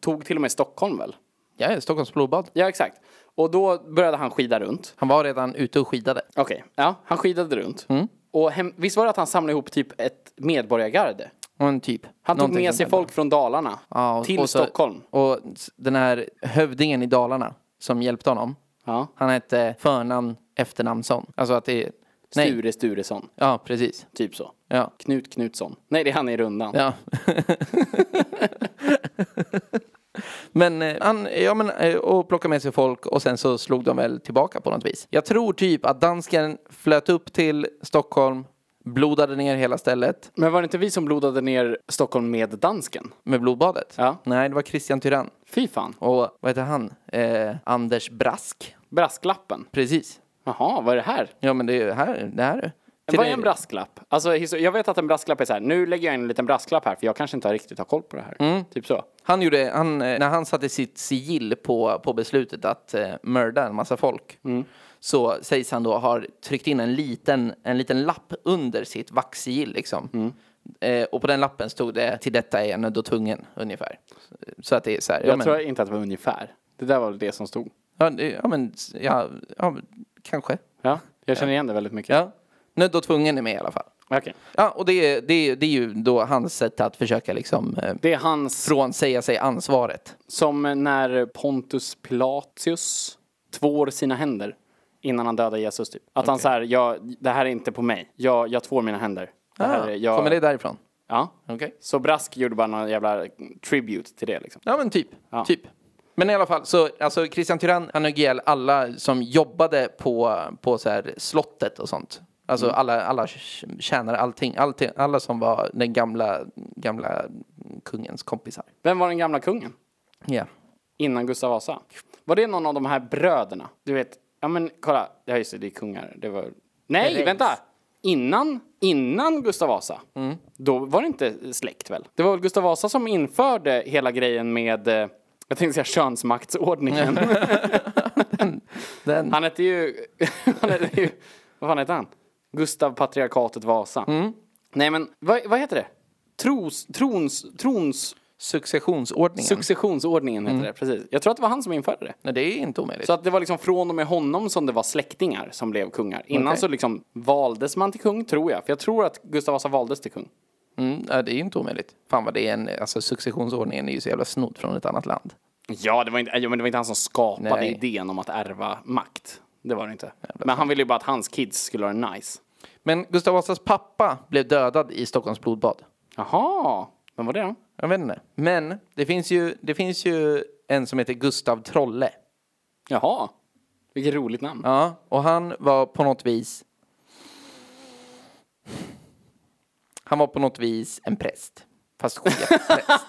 Tog till och med Stockholm väl?
Ja, Stockholms blodbad.
Ja, exakt. Och då började han skida runt.
Han var redan ute och skidade.
Okej, ja, han skidade runt.
Mm.
Och hem, visst var det att han samlade ihop typ ett medborgargarde?
Och en typ.
Han tog
Någonting
med
sånt
sig
där.
folk från Dalarna
Ja, och-
till
och så-
Stockholm.
Och s- den här hövdingen i Dalarna som hjälpte honom.
Ja.
Han hette förnamn efternamnsson. Alltså att det är... Nej.
Sture Sturesson,
Ja, precis.
typ så.
Ja.
Knut Knutsson. Nej, det är han i rundan.
Ja. *laughs* men eh, han, ja men, eh, och plockade med sig folk och sen så slog de väl tillbaka på något vis. Jag tror typ att dansken flöt upp till Stockholm, blodade ner hela stället
Men var det inte vi som blodade ner Stockholm med dansken?
med blodbadet.
Ja.
Nej, det var Christian Tyrann.
Fy fan.
Och vad heter han? Eh, Anders Brask.
Brasklappen.
Precis.
Jaha, vad är det här?
Ja, men det är ju här. Det här är Till
Vad är
dig-
en brasklapp? Alltså, histo- jag vet att en brasklapp är så här, nu lägger jag in en liten brasklapp här för jag kanske inte har riktigt har koll på det här.
Mm.
Typ så.
Han gjorde, han, eh, när han satte sitt sigill på, på beslutet att eh, mörda en massa folk
Mm.
så sägs han då ha tryckt in en liten, en liten lapp under sitt vaxsigill liksom.
Mm.
Eh, och på den lappen stod det till detta är jag nödd och tvungen ungefär. Så att det är så här, ja,
Jag
men,
tror inte att det var ungefär. Det där var väl det som stod.
ja, det- ja, men, ja, ja, kanske.
Ja, jag känner igen det väldigt mycket.
Ja. Nödd och tvungen är med i alla fall.
Okej.
Ja, och det, är- det, är- det är ju då hans sätt att försöka liksom eh,
Det är hans,
frånsäga sig ansvaret.
som när Pontus Pilatius tvår sina händer innan han dödar Jesus typ. Att han så här, jag, det här är inte på mig. Jag, jag tvår mina händer. Det här,
Ah,
är- jag,
Kommer det därifrån?
Ja.
Okej.
Så Brask gjorde bara någon jävla tribute till det liksom.
Ja men typ.
Ja.
typ. Men i alla fall, så alltså Christian Tyrann han högg ihjäl alla som jobbade på, på så här slottet och sånt. Alltså
Mm.
alla, alla tjänare, allting, allting, alla som var den gamla, gamla kungens kompisar.
Vem var den gamla kungen?
Ja.
Innan Gustav Vasa? Var det någon av de här bröderna? Du vet, ja men kolla, ja just det, det är kungar. Det var... Nej,
Ferenc.
vänta! Innan, innan Gustav Vasa, då var det inte släkt väl? Det var väl Gustav Vasa som införde hela grejen med, eh, jag tänkte säga könsmaktsordningen.
Den,
Han hette ju... *laughs* han hette ju... Vad fan hette han? Gustav Patriarkatet Vasa. Nej men, vad, vad heter det? Tros... Trons... Trons...
Mm. successionsordningen.
Successionsordningen heter det, precis. Jag tror att det var han som införde det.
Nej, det är inte omöjligt.
Så att det var liksom från och med honom som det var släktingar som blev kungar. Innan
Okej.
så liksom valdes man till kung, tror jag. För jag tror att Gustav Vasa valdes till kung.
Mm, ja, det är inte omöjligt. Fan vad det är en, alltså successionsordningen är ju så jävla snodd från ett annat land.
Ja, det var inte, ja, men det var inte han som skapade
Nej.
idén om att ärva makt. Det var det inte. Men han ville ju bara att hans kids skulle ha det nice.
Men Gustav Vasas pappa blev dödad i Stockholms blodbad.
Jaha, vem var det då?
Jag vet inte. Men det finns ju, det finns ju en som heter Gustav Trolle.
Jaha, vilket roligt namn.
Ja, och han var på något vis... Han var på något vis en präst. Fast chefpräst. *laughs*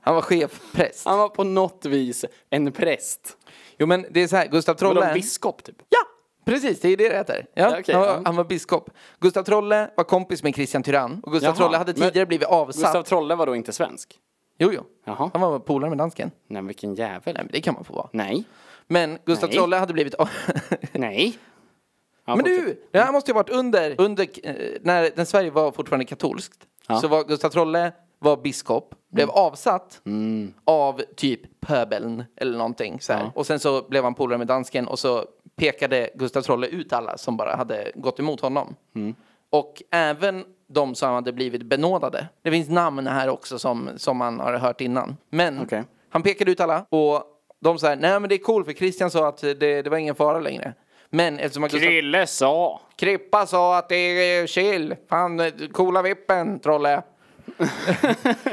han var chefpräst.
Han var på något vis en präst.
Jo men det är så här, Gustav
Eller en
Trolle...
biskop typ.
Ja! Precis, det är det det heter. Ja,
Okej,
han, var,
ja.
han var biskop. Gustav Trolle var kompis med Christian Tyrann. Och Gustav
Jaha,
Trolle hade
men-
tidigare blivit avsatt.
Gustav Trolle var då inte svensk?
Jo, jo.
Jaha.
Han var polare med dansken.
Nej, men vilken jävel.
Nej, men det kan man få vara.
Nej.
Men Gustav
Nej.
Trolle hade blivit... *laughs* av-
Nej. Ja,
Men
fortsätt.
du, det här måste ju ha varit under, under eh, när den Sverige var fortfarande katolskt. Så var Gustav Trolle var biskop,
Mm.
blev avsatt av typ pöbeln eller någonting så här. Och sen så blev han polare med dansken och så pekade Gustav Trolle ut alla som bara hade gått emot honom.
Mm.
Och även de som hade blivit benådade. Det finns namn här också som, som man har hört innan. Men
Okej.
han pekade ut alla och de sa nej men det är cool för Christian sa att det, det var ingen fara längre. Men eftersom att Gustav
Krille sa.
Krippa sa att det är eh, chill. Fan, eh, coola vippen,
*laughs*
Trolle.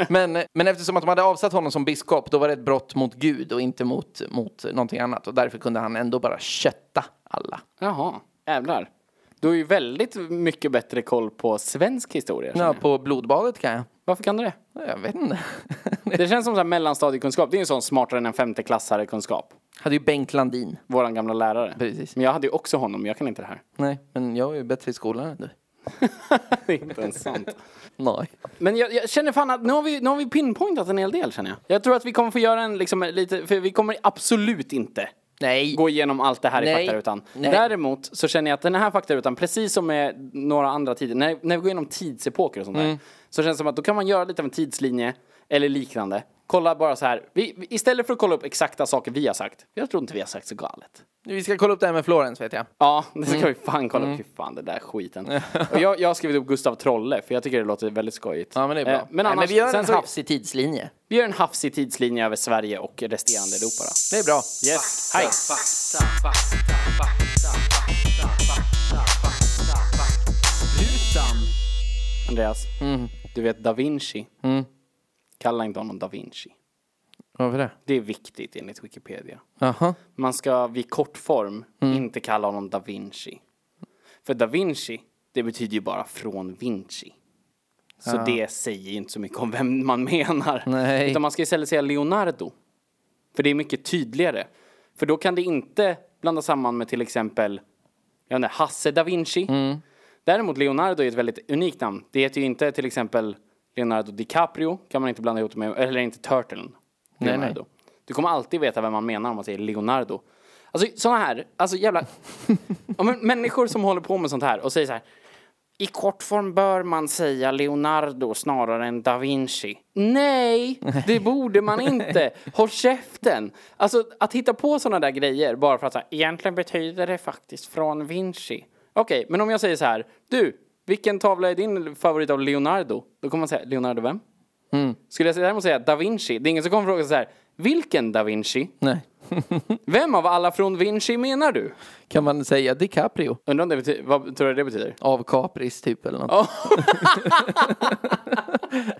men, eh, men eftersom att de hade avsatt honom som biskop, då var det ett brott mot Gud och inte mot, mot någonting annat. Och därför kunde han ändå bara kötta alla.
Jaha, jävlar. Du har ju väldigt mycket bättre koll på svensk historia. känner
Ja,
jag.
på blodbadet kan jag.
Varför kan du det?
Jag vet inte. *laughs*
Det känns som så här mellanstadiekunskap. Det är en sån smartare än en femteklassare-kunskap.
hade ju Bengt Landin.
Våran gamla lärare.
Precis.
Men jag hade ju också honom, men jag kan inte det här. *laughs*
Nej, men jag är ju bättre i skolan än du.
Det är inte ens sant.
Nej.
Men jag, jag känner fan att nu har, vi, nu har vi pinpointat en hel del känner jag. Jag tror att vi kommer få göra en liksom lite, för vi kommer absolut inte
Nej.
gå igenom allt det här i
Nej.
faktarutan.
Nej.
Däremot så känner jag att den här faktarutan, precis som med några andra tider, när, när vi går igenom tidsepoker och sånt
Mm.
där, så känns det som att då kan man göra lite av en tidslinje eller liknande. Kolla bara så här, vi, vi- istället för att kolla upp exakta saker vi har sagt, jag tror inte vi har sagt så galet.
Vi ska kolla upp det här med Florens, vet jag.
Ja, det
Mm.
ska vi fan kolla upp. Fy fan, det
*laughs*
där skiten. Och jag, jag har skrivit upp Gustav Trolle, för jag tycker det låter väldigt skojigt.
Ja, men det är bra.
Eh, Men,
Nej,
annars,
men vi gör
sen
en
så-
hafsig tidslinje.
vi gör en hafsig tidslinje över Sverige och resterande Europa då.
Det är bra.
Yes, hej! Andreas, du vet da Vinci?
Mm.
Kalla inte honom da Vinci.
Varför det?
Det är viktigt enligt Wikipedia.
Jaha.
Man ska vid kortform
Mm.
inte kalla honom da Vinci. För da Vinci, det betyder ju bara från Vinci. Så det säger ju inte så mycket om vem man menar.
Nej.
Utan man ska istället säga Leonardo. För det är mycket tydligare. För då kan det inte blanda samman med till exempel jag vet inte, Hasse da Vinci.
Mm.
Däremot Leonardo är ett väldigt unikt namn. Det heter ju inte till exempel Leonardo DiCaprio. Kan man inte blanda ihop det med, eller inte Turtlen.
nej.
Leonardo. Du kommer alltid veta vem man menar om man säger Leonardo. Alltså sådana här, alltså jävla... ja, men, människor som håller på med sånt här och säger så här. I kortform bör man säga Leonardo snarare än da Vinci. Nej, det borde man inte. Håll käften. Alltså att hitta på sådana där grejer bara för att så här, egentligen betyder det faktiskt från Vinci. Okej, men om jag säger så här. Du, vilken tavla är din favorit av Leonardo? Då kommer man säga Leonardo Mm. vem? Skulle jag däremot säga da Vinci, det är ingen som kommer fråga så här. Vilken da Vinci?
Nej.
Vem av alla från Vinci menar du?
Kan man säga DiCaprio?
Undrar om det betyder, vad tror du det betyder?
Av Capris typ eller något.
Ja.
*laughs*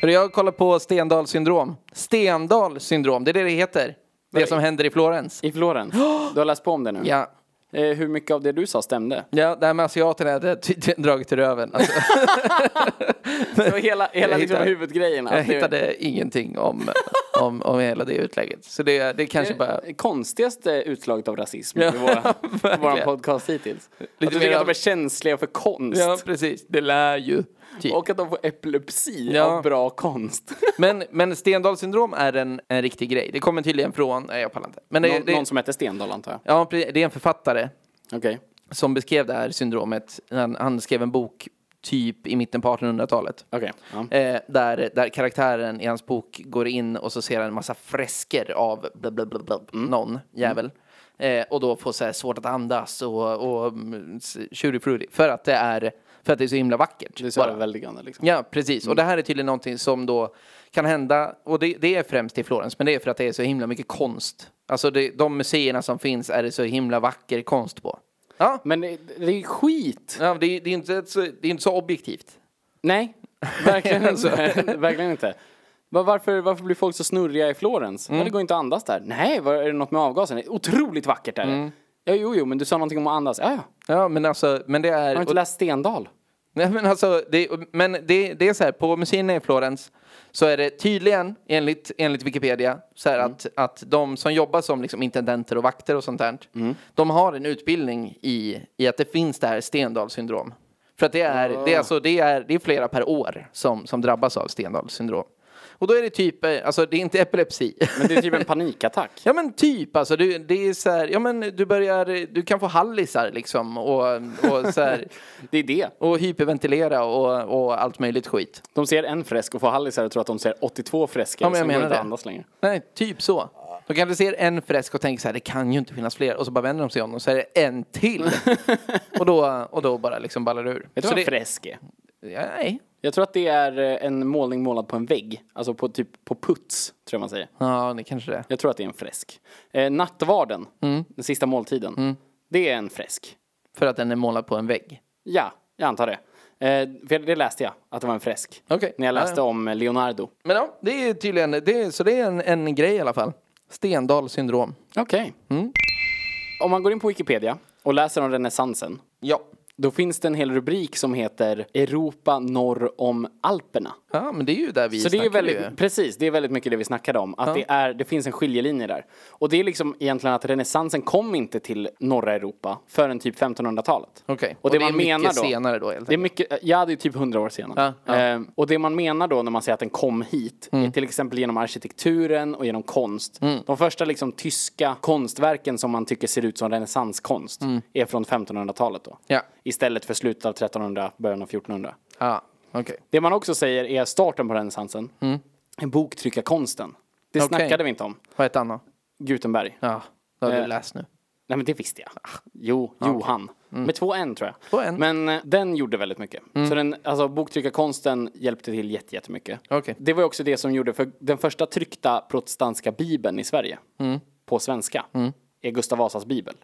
Hörru, Jag kollar på Stendahls syndrom. Stendahls syndrom, det är det det heter. Det som händer i Florens. *gasps*
I Florens? Du har läst på om det nu?
Ja.
Eh, hur mycket av det du
*laughs*
sa stämde?
Ja, det här med asiaterna hade jag tydligen dragit till röven. *laughs* Alltså,
Så hela hela liksom
hittade-
huvudgrejen? att
jag
det-
hittade ingenting om, om, om hela det utlägget. Så det, det kanske bara...
Det konstigaste utslaget av rasism
*laughs*
i våra, vår podcast hittills. att du
mer
tycker att
av-
de är känsliga för konst.
Ja, precis. Det lär ju. Typ.
Och att de får epilepsi
Ja.
av bra konst.
Men, men Stendahls syndrom är en, en riktig grej. Det kommer tydligen från... Nej, jag pallar inte. Men *laughs* det,
Någon,
det,
någon som heter Stendahl antar jag.
ja, precis. det är en författare
Okej.
som beskrev det här syndromet. Han, han skrev en bok typ i mitten på 1800-talet.
Okej, ja.
Eh, där, där karaktären i hans bok går in och så ser han en massa fresker av bla bla bla bla,
Mm.
någon jävel. Eh, och då får så här svårt att andas och, och mm, s- tjurifruri. För att det är för att det är så himla vackert.
Det är så
bara.
överväldigande liksom.
Ja, precis. Och det här är tydligen någonting som då kan hända, och det, det är främst i Florens, men det är för att det är så himla mycket konst. Alltså det, de museerna som finns är det så himla vacker konst på. Ja,
Men det, det är skit.
ja det, det, är inte, så- det är inte så objektivt.
Nej,
*laughs*
verkligen
Alltså.
inte. *laughs* verkligen inte. Va- Varför, varför blir folk så snurriga i Florens?
Mm.
Ja, Det går inte att andas där. Nej, var, är det något med avgasen? Det är Otroligt vackert är det.
Mm.
Ja, jo, jo, men du sa någonting om att andas. Ja, ja. Har
Ja, men alltså, men det är...
du inte läst Stendal?
Nej, men alltså, det, men det, det är så här, på museerna i Florens så är det tydligen, enligt, enligt Wikipedia, så här att, att de som jobbar som liksom intendenter och vakter och sånt där, de har en utbildning i, i att det finns det här Stendahls syndrom. För att det är, det är, alltså, det är, det är flera per år som, som drabbas av Stendahls syndrom. Och då är det typ, eh, alltså det är inte epilepsi.
Men det är typ
*laughs*
en panikattack.
Ja men typ alltså, du, det är så här, ja men du börjar, du kan få hallisar liksom och, och så
*laughs*
här,
Det är det.
och hyperventilera och, och allt möjligt skit.
De ser en fresk och får hallisar och tror att de ser 82 fresker.
Ja, men jag
så det går
menar
inte
det.
att andas längre.
Nej, typ så. Då kanske ser en fresk och tänker så här, det kan ju inte finnas fler. Och så bara vänder de sig om och så är det en
*laughs*
till. och, då, och då bara liksom ballar det ur.
Vet du
så
vad
det,
en fresk är?
ja, nej.
Jag tror att det är eh, en målning målad på en vägg. Alltså på typ på puts, tror jag man säger.
Ja, det kanske det är.
Jag tror att det är en fresk. Eh, nattvarden,
Mm.
den sista måltiden. Det är en fresk.
För att den är målad på en vägg.
Ja, jag antar det. Eh, för det läste jag, att det var en fresk.
Okej.
När jag läste
Ja,
om Leonardo.
Men ja, det är tydligen, det är, så det är en, en grej i alla fall. Stendahls syndrom.
Okej.
Mm.
Om man går in på Wikipedia och läser om renässansen.
Ja.
Då finns det en hel rubrik som heter Europa norr om Alperna.
Ja, men det är ju där vi
Så det är ju
snackade
väldigt, precis, det är väldigt mycket det vi snackade om. Att det, är, det finns en skiljelinje där. Och det är liksom egentligen att renässansen kom inte till norra Europa förrän typ 1500-talet.
Okej.
Och, det man
är mycket
menar då.
senare då helt
Det är
enkelt.
mycket, ja det är typ hundra år senare.
Ja, Mm. ja.
Ehm, och det man menar då när man säger att den kom hit, är till exempel genom arkitekturen och genom konst.
Mm.
De första liksom tyska konstverken som man tycker ser ut som renässanskonst är från 1500-talet då.
Mm. Ja.
Istället för slutet av 1300, början av 1400.
Ja, okej.
Det man också säger är starten på renässansen, boktryckarkonsten. Det
Mm. Okej.
snackade vi inte om.
Vad hette han då?
Gutenberg.
Ja, Ah. då har du
Eh.
läst nu.
Nej men det visste jag. Jo, Johan. Med två N tror jag.
Mm. Två N. Mm.
Men eh, den gjorde väldigt mycket. Så den, alltså boktryckarkonsten hjälpte till jätte- jättemycket.
Okej.
Det var ju också det som gjorde, för den första tryckta protestantiska bibeln i Sverige,
Mm.
på svenska, är Gustav Vasas bibel.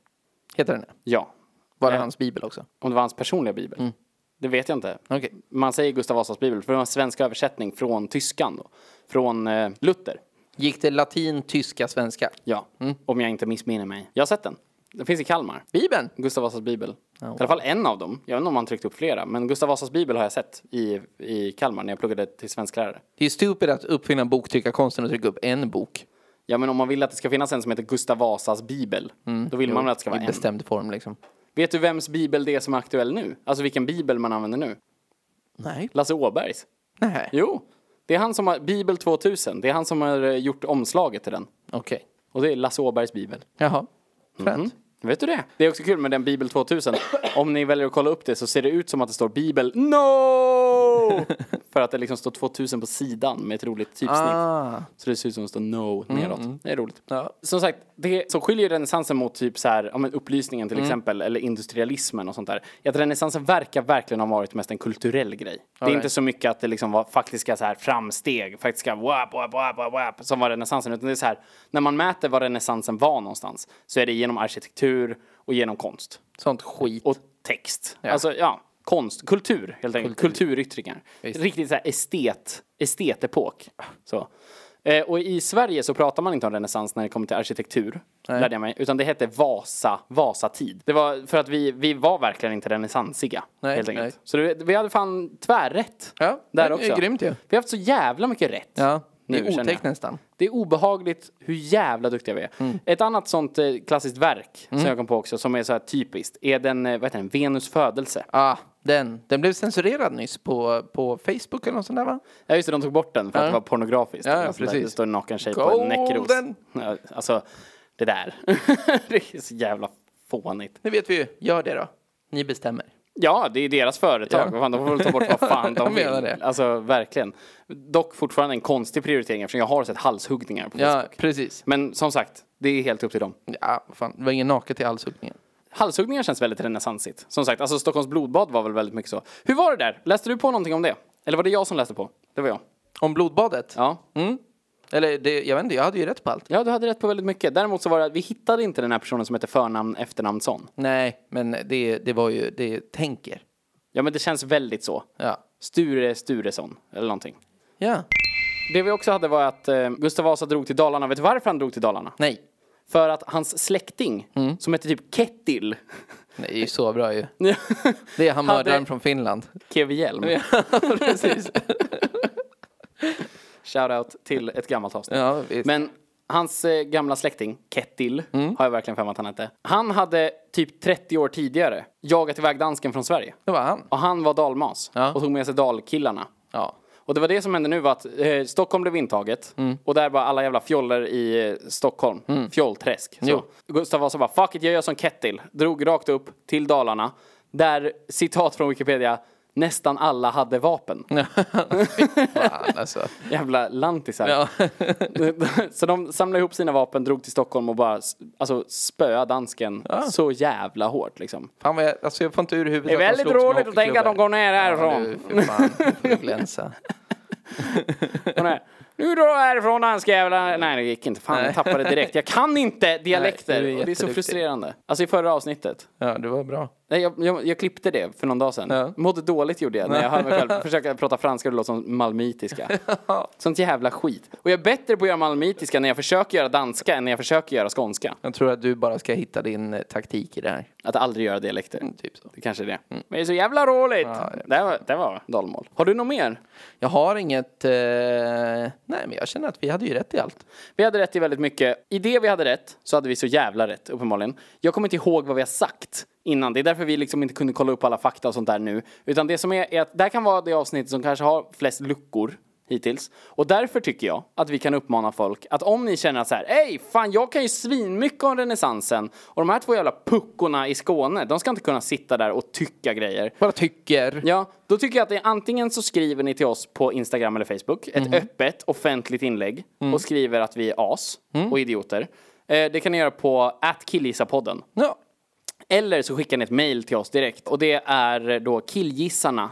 Heter den det?
Ja.
Var
Eh.
det hans bibel också?
Om det var hans personliga bibel.
Mm.
Det vet jag inte.
Okej.
Man säger Gustav Vasas bibel, för det var en svensk översättning från tyskan då. Från eh, Luther.
Gick det latin, tyska, svenska?
Ja, om jag inte missminner mig. Jag har sett den. Den finns i Kalmar.
Bibeln?
Gustav Vasas bibel. I
wow.
alla fall en av dem. Jag vet inte om han tryckt upp flera. Men Gustav Vasas bibel har jag sett i, i Kalmar när jag pluggade till svensklärare.
Det är stupid att uppfinna boktryckarkonsten och trycka upp en bok.
Ja men om man vill att det ska finnas en som heter Gustav Vasas bibel. Då vill man väl att det ska vara
I
en.
bestämd form liksom.
Vet du vems bibel det är som är aktuell nu? Alltså vilken bibel man använder nu?
Nej.
Lasse Åbergs.
Nej.
Jo. Det är han som har, Bibel 2000, det är han som har eh, gjort omslaget till den.
Okej.
Och det är Lasse Åbergs bibel.
Jaha. Fränt.
Mm. Vet du det? Det är också kul med den Bibel 2000. Om ni väljer att kolla upp det så ser det ut som att det står Bibel NO! no! *laughs* För att det liksom står 2000 på sidan med ett roligt typsnitt.
Ah.
Så det ser ut som att det står no neråt. Det är roligt.
Ja.
Som sagt, det som skiljer renässansen mot typ så här, ja, men upplysningen till exempel, eller industrialismen och sånt där, är att renässansen verkar verkligen ha varit mest en kulturell grej. Det är
Alright.
inte så mycket att det liksom var faktiska så här framsteg, faktiska wap, wap, wap, wap, wap, som var renässansen, utan det är så här, när man mäter vad renässansen var någonstans, så är det genom arkitektur och genom konst
Sånt skit.
och text. Alltså, ja, konst, kultur helt enkelt. Kulturyttringar.
Visst.
Riktigt så här estet, estetepok. Så. Eh, och i Sverige så pratar man inte om renässans när det kommer till arkitektur, lärde jag mig, utan det hette Vasa, Vasatid. Det var för att vi, vi var verkligen inte renässansiga,
Nej,
helt enkelt.
nej.
Så det, vi hade fan tvärrätt
Ja,
där
det är
också.
grymt ju.
Vi har haft så jävla mycket rätt.
Ja, det
nu, känner
är
jag.
otäckt nästan.
Det är obehagligt hur jävla duktiga vi är.
Mm.
Ett annat sånt eh, klassiskt verk som jag kom på också, som är så här typiskt, är den, eh, vad heter den, Venus födelse.
Ah, den. Den blev censurerad nyss på, på Facebook eller något sånt där va?
Ja just det, de tog bort den för att det var pornografiskt.
Ja,
Eller något sånt där.
precis.
Det står en naken tjej på en
Golden!
näckros. Ja, Alltså, det där. *laughs* det är så jävla fånigt.
Det vet vi ju. Gör det då. Ni bestämmer.
Ja, det är deras företag.
Ja.
Vad fan, de får väl ta bort vad fan de
*laughs* Jag
vill.
menar det.
Alltså verkligen. Dock fortfarande en konstig prioritering eftersom jag har sett halshuggningar på
Ja,
Facebook.
precis.
Men som sagt, det är helt upp till dem.
Ja, vad fan. Det var ingen naket i halshuggningen.
Halshuggningar känns väldigt renässansigt. Som sagt, alltså Stockholms blodbad var väl väldigt mycket så. Hur var det där? Läste du på någonting om det? Eller var det jag som läste på? Det var jag.
Om blodbadet?
Ja.
Mm. Eller det, jag vet inte, jag hade ju rätt på allt.
Ja, du hade rätt på väldigt mycket. Däremot så var det att vi hittade inte den här personen som heter förnamn efternamn sån.
Nej, men det, det var ju, det tänker.
Ja, men det känns väldigt så.
Ja.
Sture Sturesson eller någonting.
Ja.
Det vi också hade var att eh, Gustav Vasa drog till Dalarna. Vet du varför han drog till Dalarna?
Nej.
För att hans släkting,
Mm.
som hette typ Kettil, *laughs*
Nej, det är ju så bra ju. Det är han
Hade-
mördaren från Finland.
Kevi Hjelm. *laughs*
Precis.
Shoutout till ett gammalt avsnitt.
Ja, visst.
Men hans eh, gamla släkting, Kettil, har jag verkligen för mig att han hette. Han hade typ 30 år tidigare jagat iväg dansken från Sverige.
Det var han.
Och han var dalmas
Ja.
och tog med sig dalkillarna.
Ja.
Och det var det som hände nu var att eh, Stockholm blev intaget
Mm.
och där var alla jävla fjoller i eh, Stockholm. Fjollträsk. Så.
Jo.
Gustav Vasa bara fuck it, jag gör som Kettil. Drog rakt upp till Dalarna. Där, citat från Wikipedia, nästan alla hade vapen.
*laughs* Mm. Fan alltså.
Jävla lantisar.
Ja.
så de samlade ihop sina vapen, drog till Stockholm och bara s- alltså, spöade dansken så jävla hårt liksom.
Fan vad jag, alltså jag får inte ur huvudet
Det är
att de
väldigt
slogs med
roligt att tänka att de
hockeyklubbar.
går ner
Ja,
härifrån.
nu, fy fan. Nu får du glänsa.
Hon är, nu drar jag härifrån danskjävlar. Nej det gick inte, fan jag tappade direkt. Jag kan inte dialekter.
Nej, du är
och det är så
jätteduktig.
frustrerande. Alltså i förra avsnittet.
Ja, det var bra.
Nej, jag, jag, jag klippte det för någon dag sedan.
Ja.
Mådde dåligt gjorde jag när jag hörde mig
*laughs*
själv försöka prata franska och det låter som malmitiska. Sånt jävla skit. Och jag är bättre på att göra malmitiska när jag försöker göra danska än när jag försöker göra skånska.
Jag tror att du bara ska hitta din eh, taktik i det här.
Att aldrig göra dialekter.
Typ så.
Det kanske är det. Men det är så jävla roligt!
Ja,
Mm. det, var, det var dalmål. Har du något mer?
Jag har inget... Eh, nej, men jag känner att vi hade ju rätt i allt.
Vi hade rätt i väldigt mycket. I det vi hade rätt så hade vi så jävla rätt uppenbarligen. Jag kommer inte ihåg vad vi har sagt innan. Det är därför vi liksom inte kunde kolla upp alla fakta och sånt där nu. Utan det som är, är att det här kan vara det avsnitt som kanske har flest luckor hittills. Och därför tycker jag att vi kan uppmana folk att om ni känner att så här, hej fan jag kan ju svinmycket om renässansen och de här två jävla puckorna i Skåne, de ska inte kunna sitta där och tycka grejer.
Bara tycker.
Ja, då tycker jag att det är antingen så skriver ni till oss på Instagram eller Facebook, ett öppet offentligt inlägg och skriver att vi är as och idioter. Eh, det kan ni göra på @killgissapodden.
Ja.
Eller så skickar ni ett mail till oss direkt och det är då killgissarna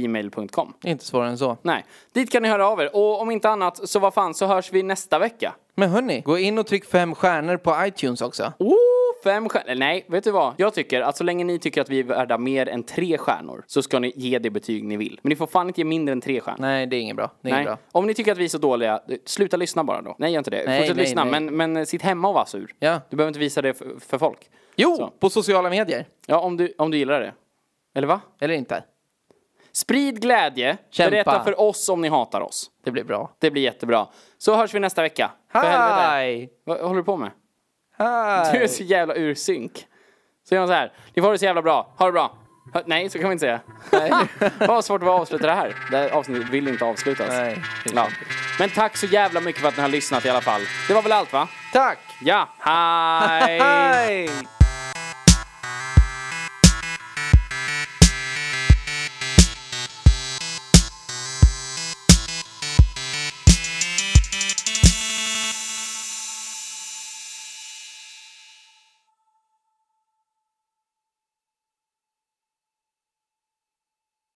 gmail.com.
Det är inte svårare än så.
Nej, dit kan ni höra av er och om inte annat så vad fan så hörs vi nästa vecka.
Men hörni, gå in och tryck fem stjärnor på iTunes också.
Oh, fem stjärnor. Nej, vet du vad? Jag tycker att så länge ni tycker att vi är värda mer än tre stjärnor så ska ni ge det betyg ni vill. Men ni får fan inte ge mindre än tre stjärnor.
Nej, det är inget bra. Det är
Nej.
inget bra.
Om ni tycker att vi är så dåliga, eh, sluta lyssna bara då. Nej, gör inte det.
Nej,
Fortsätt
nej,
lyssna,
nej.
Men, men eh, sitt hemma och var sur.
Ja.
Du behöver inte visa det för, för folk.
Jo,
Så.
på sociala medier.
Ja, om du, om du gillar det. Eller va?
Eller inte.
Sprid glädje.
Kämpa.
Berätta för oss om ni hatar oss.
Det blir bra.
Det blir jättebra. Så hörs vi nästa vecka. För helvete.
Hej!
Vad håller du på med? Du är
Hej!
så jävla ur synk. Så gör man så här. Ni får det så jävla bra. Ha det bra. Hö- Nej, så kan man inte säga. *laughs* Vad svårt det var att avsluta det här. Det här avsnittet vill inte avslutas.
Nej.
Ja. Men tack så jävla mycket för att ni har lyssnat i alla fall. Det var väl allt va?
Tack!
Ja, hej!
Hej!